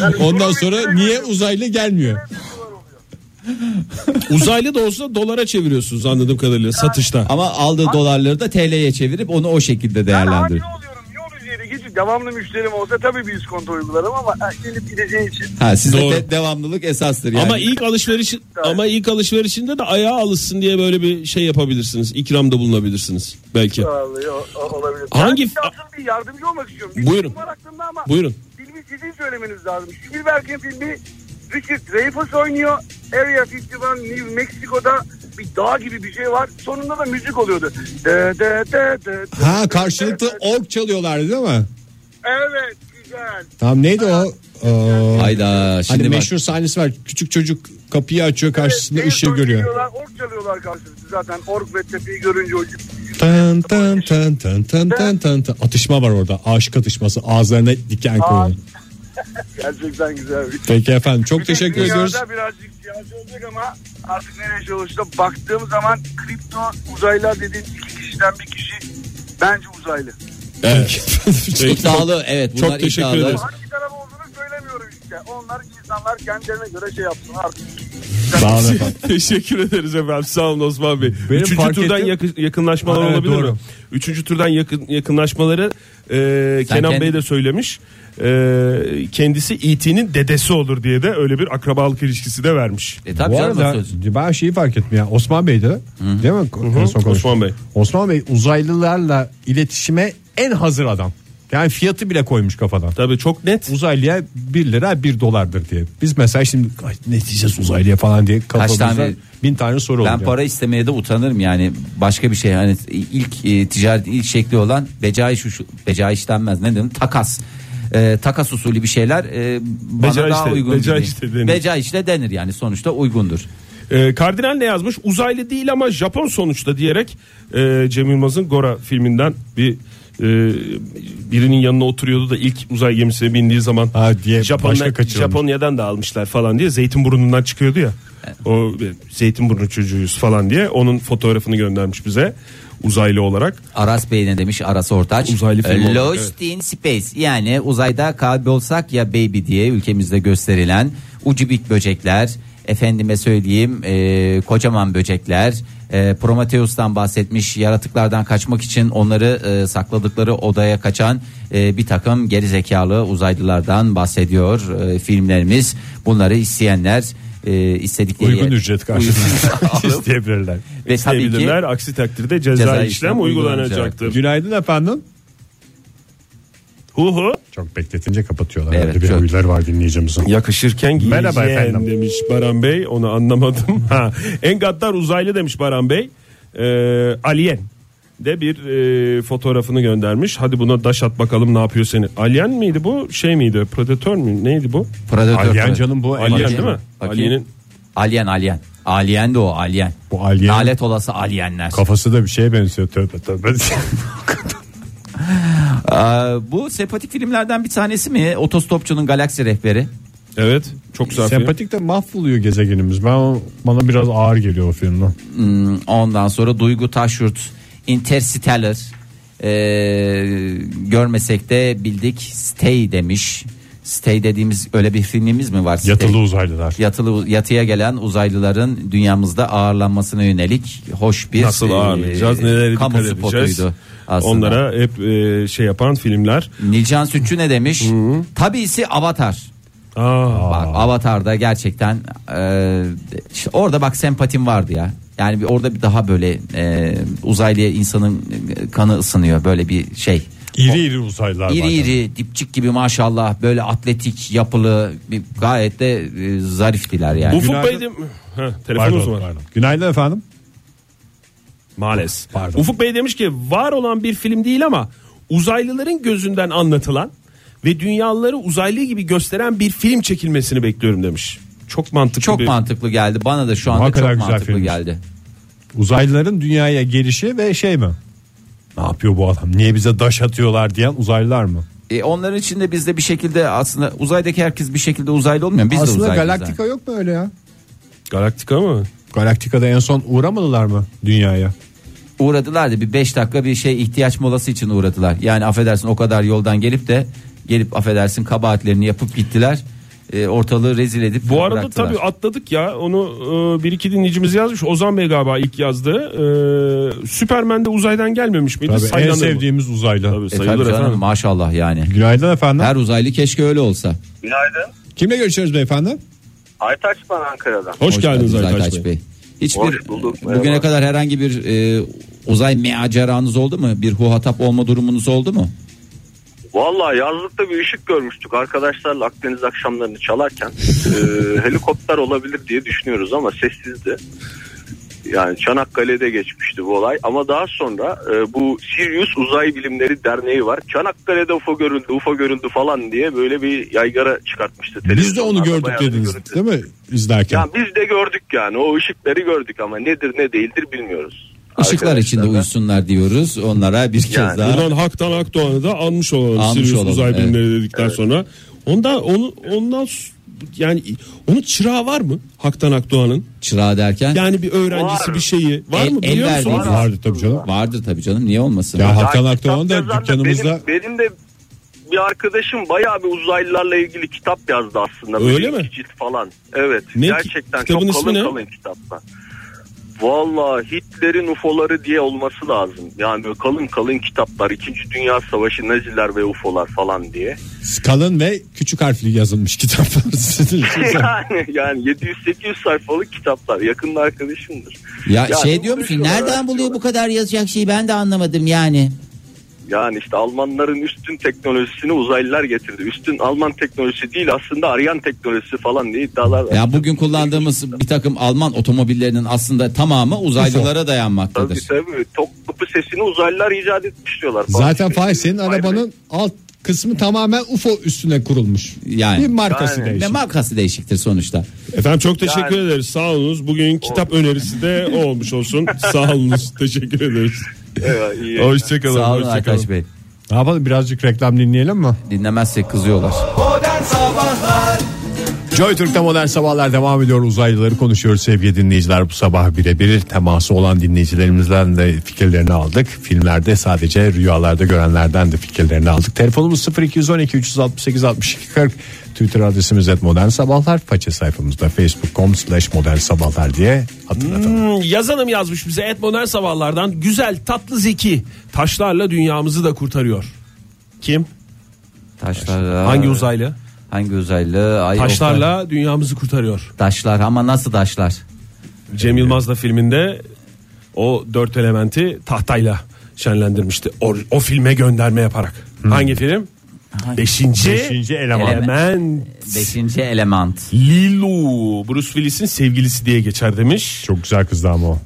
S1: Yani
S2: Ondan
S1: bunun
S2: sonra
S1: üstüne
S2: niye
S1: göre
S2: uzaylı gelmiyor?
S1: 1 dolar oluyor.
S7: Uzaylı da olsa dolara çeviriyorsunuz anladığım kadarıyla satışta.
S3: Ama aldığı dolarları da TL'ye çevirip onu o şekilde
S1: Yani
S3: değerlendirir.
S1: haklı oluyorum. Yol üzeri geçip devamlı müşterim olsa tabii bir iskonto uygularım ama e, gelip gideceği için
S3: Ha, sizde
S7: Doğru.
S3: de- devamlılık esastır yani.
S7: Ama ilk alışveriş ama ilk alışverişinde de ayağa alışsın diye böyle bir şey yapabilirsiniz. İkramda bulunabilirsiniz belki.
S1: Vallahi o- o- olabilir.
S7: Hangi-
S1: Ben size aslında bir yardımcı olmak istiyorum. Bir
S7: Buyurun.
S1: film var aklımda ama
S7: Buyurun.
S1: Filmi sizin söylemeniz lazım. Spielberg'in filmi Richard Dreyfuss oynuyor. Area 51 New Mexico'da bir dağ gibi bir şey var. Sonunda da müzik oluyordu. De, de, de, de, de.
S2: Ha karşılıklı ork çalıyorlardı değil mi?
S1: Evet güzel.
S2: Tamam neydi o? Ee,
S3: Hayda
S2: hani
S3: şimdi bak.
S2: meşhur sahnesi var. Küçük çocuk kapıyı açıyor karşısında
S1: Evet,
S2: ışığı
S1: Airsoft
S2: görüyor.
S1: Çalıyorlar, ork çalıyorlar. çıkıyorlar karşımıza. Zaten Ork ve Tepe'yi görünce o
S2: Tan tan tan tan tan tan tan tan. Atışma var orada. Aşık atışması. Ağızlarına diken koyuyor.
S1: gerçekten güzel bir
S2: Peki efendim çok teşekkür
S1: Dünyada
S2: ediyoruz.
S1: birazcık siyasi olacak ama artık nereye şey olursa baktığım zaman kripto uzaylılar dediğin iki kişiden bir kişi bence uzaylı.
S7: Peki.
S3: İddialı evet bunlar
S7: Çok teşekkür
S3: iddialı.
S7: ederiz.
S1: Hangi taraf olduğunu söylemiyorum işte. Onlar insanlar kendilerine göre şey yapsın artık.
S2: Sağ olun efendim.
S4: Teşekkür ederiz efendim. Sağ olun Osman Bey.
S2: Benim
S4: Üçüncü
S2: fark
S4: turdan
S2: ettim.
S4: yakın- yakınlaşmalar
S2: Ha, evet,
S4: olabilir
S2: doğru.
S4: mi? Üçüncü turdan yakın, yakınlaşmaları e,
S3: Sen
S4: Kenan
S3: kendi-
S4: Bey de söylemiş. E, kendisi E.T.'nin dedesi olur diye de öyle bir akrabalık ilişkisi de vermiş.
S3: E tabii
S2: Bu
S3: canım
S2: arada
S3: nasıl olsun?
S2: ben şeyi fark ettim ya. Osman Bey'di değil mi? En son konuştuk.
S4: Osman Bey.
S2: Osman Bey uzaylılarla iletişime en hazır adam. Yani fiyatı bile koymuş kafadan.
S4: Tabii çok net.
S2: Uzaylıya 1 lira 1 dolardır diye. Biz mesela şimdi "Ay, ne diyeceğiz uzaylıya falan diye kafamızda
S3: tane-
S2: bin tane soru
S3: Ben
S2: oluyor.
S3: para istemeye de utanırım yani başka bir şey hani ilk e, ticaret ilk şekli olan becaiş usu- becaiş denmez ne dedim takas. E, takas usulü bir şeyler e, bana
S4: Becaiş
S3: daha
S4: de-
S3: uygun.
S4: becaiş de denir.
S3: Becaişle denir yani sonuçta uygundur.
S4: E, Kardinal ne yazmış? Uzaylı değil ama Japon sonuçta diyerek e, Cem Yılmaz'ın Gora filminden bir e, birinin yanına oturuyordu da ilk uzay gemisine bindiği zaman
S2: Ha diye başka
S4: Japonya,
S2: kaçırılmış.
S4: Japonya'dan da almışlar falan diye Zeytinburnu'ndan çıkıyordu ya. O e, Zeytinburnu çocuğuyuz falan diye onun fotoğrafını göndermiş bize uzaylı olarak.
S3: Aras Bey ne demiş Aras Ortaç?
S4: Uzaylı film
S3: E,
S4: oldu,
S3: Lost in Space yani uzayda kaybolsak ya baby diye ülkemizde gösterilen ucubik böcekler efendime söyleyeyim e, kocaman böcekler e, Prometheus'tan bahsetmiş yaratıklardan kaçmak için onları e, sakladıkları odaya kaçan e, bir takım gerizekalı uzaylılardan bahsediyor e, filmlerimiz bunları isteyenler e, istedikleri
S2: Uygun ücret karşılığında
S3: Uygun-
S2: isteyebilirler.
S3: ve tabii ki
S4: Diyebilirler. Aksi takdirde ceza,
S3: Ceza
S4: işlem,
S3: işlem
S4: uygulanacaktır.
S2: Günaydın efendim.
S4: Hu hu.
S2: Çok bekletince kapatıyorlar.
S3: Evet,
S2: Herhalde bir
S3: çok.
S2: huyları var dinleyicimizin.
S4: Yakışırken giyeceğim
S2: Merhaba efendim.
S4: demiş Baran Bey. Onu anlamadım. Ha. En gaddar uzaylı demiş Baran Bey. Ee, Alien de bir e, fotoğrafını göndermiş. Hadi buna daş at bakalım ne yapıyor seni. Alien miydi bu? Şey miydi? Predatör mü? Neydi bu?
S3: Predator-
S2: Alien canım bu.
S4: Alien
S2: Alien.
S4: değil mi?
S3: Bakayım.
S4: Alien'in
S3: Alien alien. Alien de o alien.
S2: Bu alien-
S3: Nalet olası alienler.
S2: Kafası da bir şeye benziyor. Tövbe tövbe.
S3: Aa, Ee, bu sempatik filmlerden bir tanesi mi? Otostopçunun galaksi rehberi.
S4: Evet. Çok güzel film.
S2: Sempatik de mahvoluyor gezegenimiz. Ben bana biraz ağır geliyor o filmden.
S3: Ondan sonra Duygu Taşyurt. Interstellar. Ee, görmesek de bildik. Stay demiş. Stay dediğimiz öyle bir filmimiz mi var? Stay.
S2: Yatılı uzaylılar.
S3: Yatılı, yatıya gelen uzaylıların dünyamızda ağırlanmasına yönelik hoş bir
S4: Nasıl
S3: e,
S4: ağırlayacağız? Nelere dikkat
S3: kamu
S4: edeceğiz?
S3: spotuydu aslında.
S4: Onlara hep e, şey yapan filmler.
S3: Nilcan Sütçü ne demiş? Tabisi Avatar.
S4: Aa,
S3: Bak Avatar'da gerçekten e, işte orada bak sempatim vardı ya. Yani bir orada bir daha böyle e, uzaylıya insanın e, kanı ısınıyor böyle bir şey.
S2: İri iri uzaylılar var.
S3: İri iri dipçik gibi maşallah böyle atletik yapılı bir, gayet de e, zariftiler yani.
S4: Ufuk
S2: Günaydın.
S4: Bey de... Heh, telefonumuz
S2: Pardon,
S4: var.
S2: pardon. Günaydın efendim.
S4: Maalesef.
S2: Pardon.
S4: Ufuk Bey demiş ki var olan bir film değil ama uzaylıların gözünden anlatılan ve dünyaları uzaylı gibi gösteren bir film çekilmesini bekliyorum demiş. Çok mantıklı
S3: çok
S4: bir-
S3: mantıklı geldi bana da şu anda
S2: Hakikaten
S3: çok
S2: güzel
S3: mantıklı
S2: filmmiş.
S3: geldi.
S2: Uzaylıların dünyaya gelişi ve şey mi? Ne yapıyor bu adam? Niye bize daş atıyorlar diyen uzaylılar mı?
S3: E, onların içinde bizde bir şekilde aslında uzaydaki herkes bir şekilde uzaylı olmuyor. Biz de
S2: Aslında
S3: uzaylıyız
S2: Galaktika
S3: yani.
S2: yok mu öyle ya?
S4: Galaktika mı?
S2: Galaktika'da en son uğramadılar mı dünyaya?
S3: uğradılar da bir 5 dakika bir şey ihtiyaç molası için uğradılar. Yani affedersin o kadar yoldan gelip de gelip affedersin kabahatlerini yapıp gittiler. E, ortalığı rezil edip
S4: Bu arada
S3: bıraktılar.
S4: tabii atladık ya onu e, bir iki dinleyicimiz yazmış. Ozan Bey galiba ilk yazdı. E, Superman de uzaydan gelmemiş miydi?
S2: Tabii, en
S4: Saylanır mı?
S2: sevdiğimiz uzaylı. E,
S4: Tabii,
S3: E, tabii
S4: sayılır
S3: canım,
S4: efendim.
S3: maşallah yani.
S2: Günaydın efendim.
S3: Her uzaylı keşke öyle olsa.
S5: Günaydın.
S2: Kimle görüşüyoruz beyefendi?
S5: Aytaç ben Ankara'dan.
S4: Hoş, geldiniz
S3: Aytaç
S4: Aytaç Bey.
S3: Hiçbir e,
S5: Hoş bulduk, merhaba.
S3: bugüne kadar herhangi bir e, uzay meaceranız oldu mu? Bir huhatap olma durumunuz oldu mu?
S5: Valla yazlıkta bir ışık görmüştük arkadaşlarla Akdeniz
S1: e,
S5: akşamlarını çalarken. Ee, helikopter olabilir diye düşünüyoruz ama sessizdi.
S1: Yani Çanakkale'de geçmişti bu olay ama daha sonra e, bu Sirius Uzay Bilimleri Derneği var. Çanakkale'de UFO görüldü, UFO görüldü falan diye böyle bir yaygara çıkartmıştı.
S2: Biz de onu
S1: televizyonlarda.
S2: gördük
S1: Bayağı bir görüntü.
S2: dediniz değil mi izlerken?
S1: Ya biz de gördük yani o ışıkları gördük ama nedir ne değildir bilmiyoruz.
S3: Işıklar içinde
S1: Arkadaşlar da-
S3: uyusunlar diyoruz. Onlara bir kez
S1: Yani.
S3: daha
S4: Buradan Hak'tan Akdoğan'ı da anmış olalım.
S3: Anmış
S4: Sirius
S3: olalım,
S4: uzay
S3: evet.
S4: bilimleri dedikten sonra. Ondan onu ondan s- yani onun çırağı var mı Hak'tan Akdoğan'ın?
S3: çırağı derken
S4: Yani bir öğrencisi
S1: Var.
S4: bir şeyi var
S3: El-
S4: mı
S3: el
S4: biliyor musun?
S3: verdiği-
S1: Var.
S2: Vardı tabii canım.
S3: vardır tabii canım niye olmasın?
S2: Ya Hakan
S1: Ya
S2: Akdoğan
S1: kitap
S2: da
S1: yazan
S2: dükkanımızda
S1: Benim, benim de bir arkadaşım bayağı bir uzaylılarla ilgili kitap yazdı aslında. Böyle
S4: Öyle mi?
S1: iki Cilt falan. Evet.
S4: Ne?
S1: Gerçekten
S4: Kitabın
S1: çok
S4: ismi
S1: kalın
S4: ne?
S1: kalın kitaplar. Valla Hitler'in UFO'ları diye olması lazım. Yani böyle kalın kalın kitaplar. İkinci Dünya Savaşı, Naziler ve UFO'lar falan diye.
S2: kalın ve küçük harfli yazılmış kitaplar. Sizin için.
S1: yani yani 700-800 sayfalık kitaplar. Yakın arkadaşımdır.
S3: Ya,
S1: Yani
S3: şey diyor musun
S1: konuşuyorlar,
S3: nereden buluyor
S1: konuşuyorlar.
S3: bu kadar yazacak şeyi ben de anlamadım yani.
S1: Yani işte Almanların üstün teknolojisini uzaylılar getirdi. Üstün Alman teknolojisi değil aslında Aryan teknolojisi falan diye iddialar var.
S3: Ya bugün kullandığımız bir takım Alman otomobillerinin aslında tamamı uzaylılara
S1: Tabii
S3: dayanmaktadır.
S1: tabii. Tok kapı sesini uzaylılar icat etmiş diyorlar. falan.
S2: Zaten
S1: İşte
S2: Fahir senin
S1: Vay be.
S2: arabanın alt kısmı tamamen UFO üstüne kurulmuş.
S3: Yani.
S2: Bir markası
S1: Yani.
S2: değişik.
S3: Ve markası değişiktir sonuçta.
S4: Efendim çok teşekkür
S1: Yani-
S4: ederiz. Sağ olunuz. Bugün kitap önerisi de o olmuş olsun. Sağ olunuz. Teşekkür ederiz.
S1: Evet, iyi.
S4: Hoşçakalın.
S3: Sağ olun
S4: hoşça kalın.
S3: Aytaç Bey.
S2: Ne yapalım birazcık reklam dinleyelim mi?
S3: Dinlemezsek kızıyorlar.
S2: Joy Türk'te modern sabahlar devam ediyor. Uzaylıları konuşuyoruz sevgili dinleyiciler. Bu sabah birebir teması olan dinleyicilerimizden de fikirlerini aldık. Filmlerde sadece rüyalarda görenlerden de fikirlerini aldık. Telefonumuz 0212 368 62 40. Twitter adresimiz et modern sabahlar. Faça sayfamızda facebook.com slash modern sabahlar diye hatırlatalım.
S4: Hmm, yazanım yazmış bize et modern sabahlardan güzel tatlı zeki taşlarla dünyamızı da kurtarıyor. Kim?
S3: Taşlarla.
S4: Hangi uzaylı?
S3: Hangi uzaylı? Ay, Oktay.
S4: Taşlarla dünyamızı kurtarıyor.
S3: Taşlar ama nasıl taşlar?
S4: Cem Yılmaz'la filminde o dört elementi tahtayla şenlendirmişti. O, o filme gönderme yaparak. Hangi film? Hmm. Beşinci,
S2: Beşinci eleman.
S4: element.
S3: Beşinci element.
S4: Lilu. Bruce Willis'in sevgilisi diye geçer demiş.
S2: Çok güzel kızdı ama o.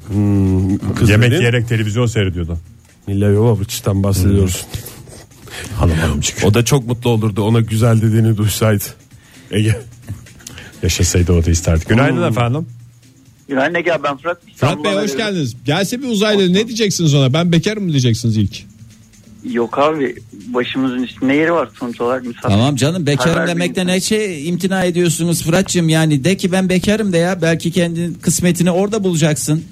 S4: Kız
S2: Yemek
S4: dedin.
S2: yiyerek televizyon seyrediyordu.
S4: Mila Jovovich'ten bahsediyoruz.
S2: Hanım hanımcık.
S4: Hmm. O da çok mutlu olurdu ona güzel dediğini duysaydı. Ege. Hmm.
S2: Yaşasaydı o da isterdi. Günaydın efendim.
S5: Günaydın Ege abi ben Fırat.
S8: Fırat Bey hoş geldiniz. Gelse bir uzaylı ne diyeceksiniz ona? Ben bekarım mı diyeceksiniz ilk?
S5: Yok abi başımızın üstünde yeri var sonuç olarak misafir.
S3: Tamam canım bekarım
S5: Haber
S3: demekten
S5: bilgi-
S3: ne şey imtina ediyorsunuz Fırat'cığım yani de ki ben bekarım de ya belki kendin kısmetini orada bulacaksın.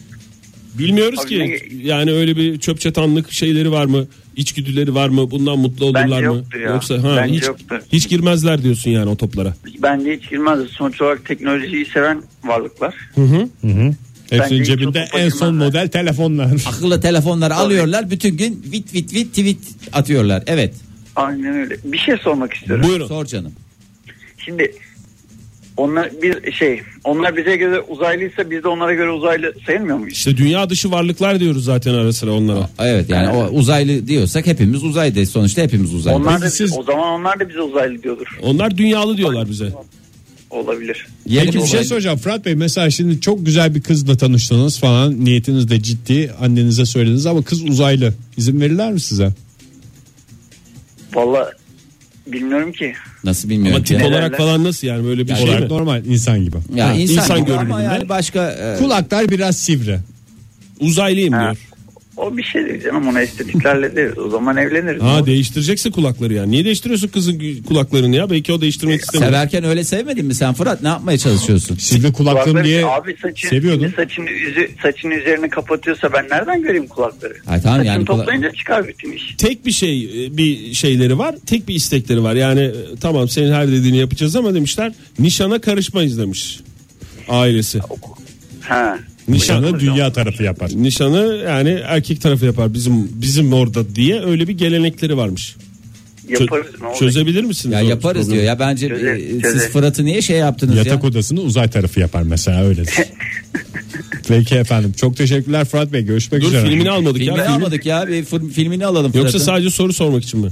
S4: Bilmiyoruz
S5: Abi
S4: ki
S5: ne-
S4: yani öyle bir çöp çatanlık şeyleri var mı? İçgüdüleri var mı? Bundan mutlu olurlar
S5: Bence
S4: mı?
S5: yoktur ya.
S4: Yoksa ha,
S5: Bence
S4: hiç,
S5: yoktur.
S4: hiç girmezler diyorsun yani o toplara.
S5: Bence hiç girmez. Sonuç olarak teknolojiyi seven varlıklar. Bence
S8: Hepsinin
S5: hiç
S8: cebinde
S5: oturup
S8: en son
S5: bakılmaz.
S8: model telefonlar.
S3: Akıllı telefonları alıyorlar bütün gün vit vit vit tweet atıyorlar. Evet.
S5: Aynen öyle. Bir şey sormak istiyorum.
S4: Buyurun.
S3: Sor canım.
S5: Şimdi onlar bir şey onlar bize göre uzaylıysa biz de onlara göre uzaylı sayılmıyor muyuz?
S4: İşte dünya dışı varlıklar diyoruz zaten ara sıra onlara.
S3: Evet yani o uzaylı diyorsak hepimiz uzaydayız sonuçta hepimiz uzaylı.
S5: Onlar da,
S8: siz-
S5: o zaman onlar da bize uzaylı diyordur.
S4: Onlar dünyalı diyorlar bize.
S5: Olabilir.
S3: Yeni
S8: Peki bir şey
S3: uzaylı.
S8: soracağım Fırat Bey mesela şimdi çok güzel bir kızla tanıştınız falan niyetiniz de ciddi annenize söylediniz ama kız uzaylı izin verirler mi size?
S5: Valla bilmiyorum ki.
S3: Nasıl bilmiyorum.
S4: Ama
S3: ki.
S4: tip olarak falan nasıl yani böyle bir şey
S8: Olarak
S4: mi?
S8: normal insan gibi.
S3: Ya
S4: Ha,
S3: insan,
S4: insan
S3: gibi ama
S4: görünümünde.
S3: yani başka e,
S8: Kulaklar biraz sivri.
S4: Uzaylıyım
S5: Ha.
S4: diyor.
S5: O bir şey değil canım ona estetiklerle deriz. O zaman evleniriz.
S4: Ha değiştirecekse kulakları yani. Niye değiştiriyorsun kızın gü- kulaklarını ya? Belki o değiştirmek istemiyor.
S3: severken öyle sevmedin mi sen Fırat ne yapmaya çalışıyorsun?
S8: Sivri kulaklım
S5: Kulakları-
S8: diye
S5: abi saçı,
S8: seviyordum.
S5: Saçını, üzü, saçını üzerine kapatıyorsa ben nereden göreyim kulakları?
S3: Ay tamam
S5: Saçını
S3: yani kula-
S5: toplayınca çıkar bütün iş.
S4: Tek bir şey e, bir şeyleri var. Tek bir istekleri var. Yani e, tamam senin her dediğini yapacağız ama demişler nişana karışmayız demiş ailesi.
S5: Ha.
S8: Nişanı dünya tarafı yapar.
S4: Nişanı yani erkek tarafı yapar bizim bizim orada diye öyle bir gelenekleri varmış. Çö-
S5: Yaparız ne olacak?
S4: Çözebilir misiniz?
S3: Ya
S4: o
S3: yaparız
S4: problemi?
S3: diyor ya bence e,
S5: Çözelim,
S3: siz
S5: çözelim.
S3: Fırat'ı niye şey yaptınız
S8: Yatak
S3: ya?
S8: odasını uzay tarafı yapar mesela öyle. Peki efendim çok teşekkürler Fırat Bey görüşmek
S4: Dur
S8: üzere.
S4: filmini almadık
S3: Filmini
S4: ya. Film-
S3: almadık ya bir fır- filmini alalım
S4: Yoksa
S3: Fırat'ın.
S4: sadece soru sormak için mi?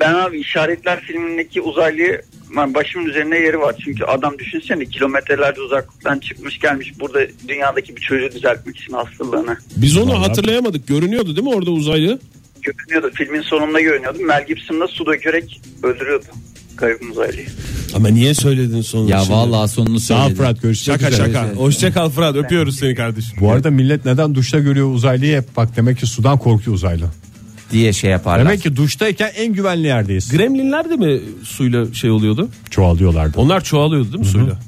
S5: Ben abi işaretler filmindeki uzaylıyı ben başımın üzerine yeri var. Çünkü adam düşünsene kilometrelerce uzaklıktan çıkmış gelmiş burada dünyadaki bir çocuğu düzeltmek için hastalığını.
S4: Biz onu hatırlayamadık. Görünüyordu değil mi orada uzaylı?
S5: Görünüyordu. Filmin sonunda görünüyordu. Mel Gibson'la su dökerek öldürüyordu. Kaybımız Ali.
S4: Ama niye söyledin sonunu?
S3: Ya
S4: şimdi?
S3: vallahi sonunu
S2: Sağ ol
S3: söyledin.
S2: Fırat görüşmek
S4: Şaka
S2: üzere.
S4: şaka. Hoşça kal Fırat. Öpüyoruz seni kardeşim.
S2: Bu arada millet neden duşta görüyor uzaylıyı hep bak demek ki sudan korkuyor uzaylı.
S3: diye şey yaparlar.
S2: Demek ki duştayken en güvenli yerdeyiz.
S4: Gremlinler de mi suyla şey oluyordu?
S2: Çoğalıyorlardı.
S4: Onlar çoğalıyordu değil mi suyla?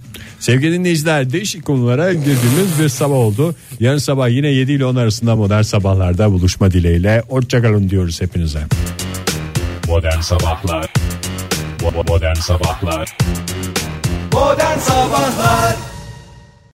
S2: Sevgili dinleyiciler değişik konulara girdiğimiz bir sabah oldu. Yarın sabah yine 7 ile 10 arasında modern sabahlarda buluşma dileğiyle. Hoşçakalın diyoruz hepinize.
S9: Modern Sabahlar Bo- bo- Modern Sabahlar
S3: Modern Sabahlar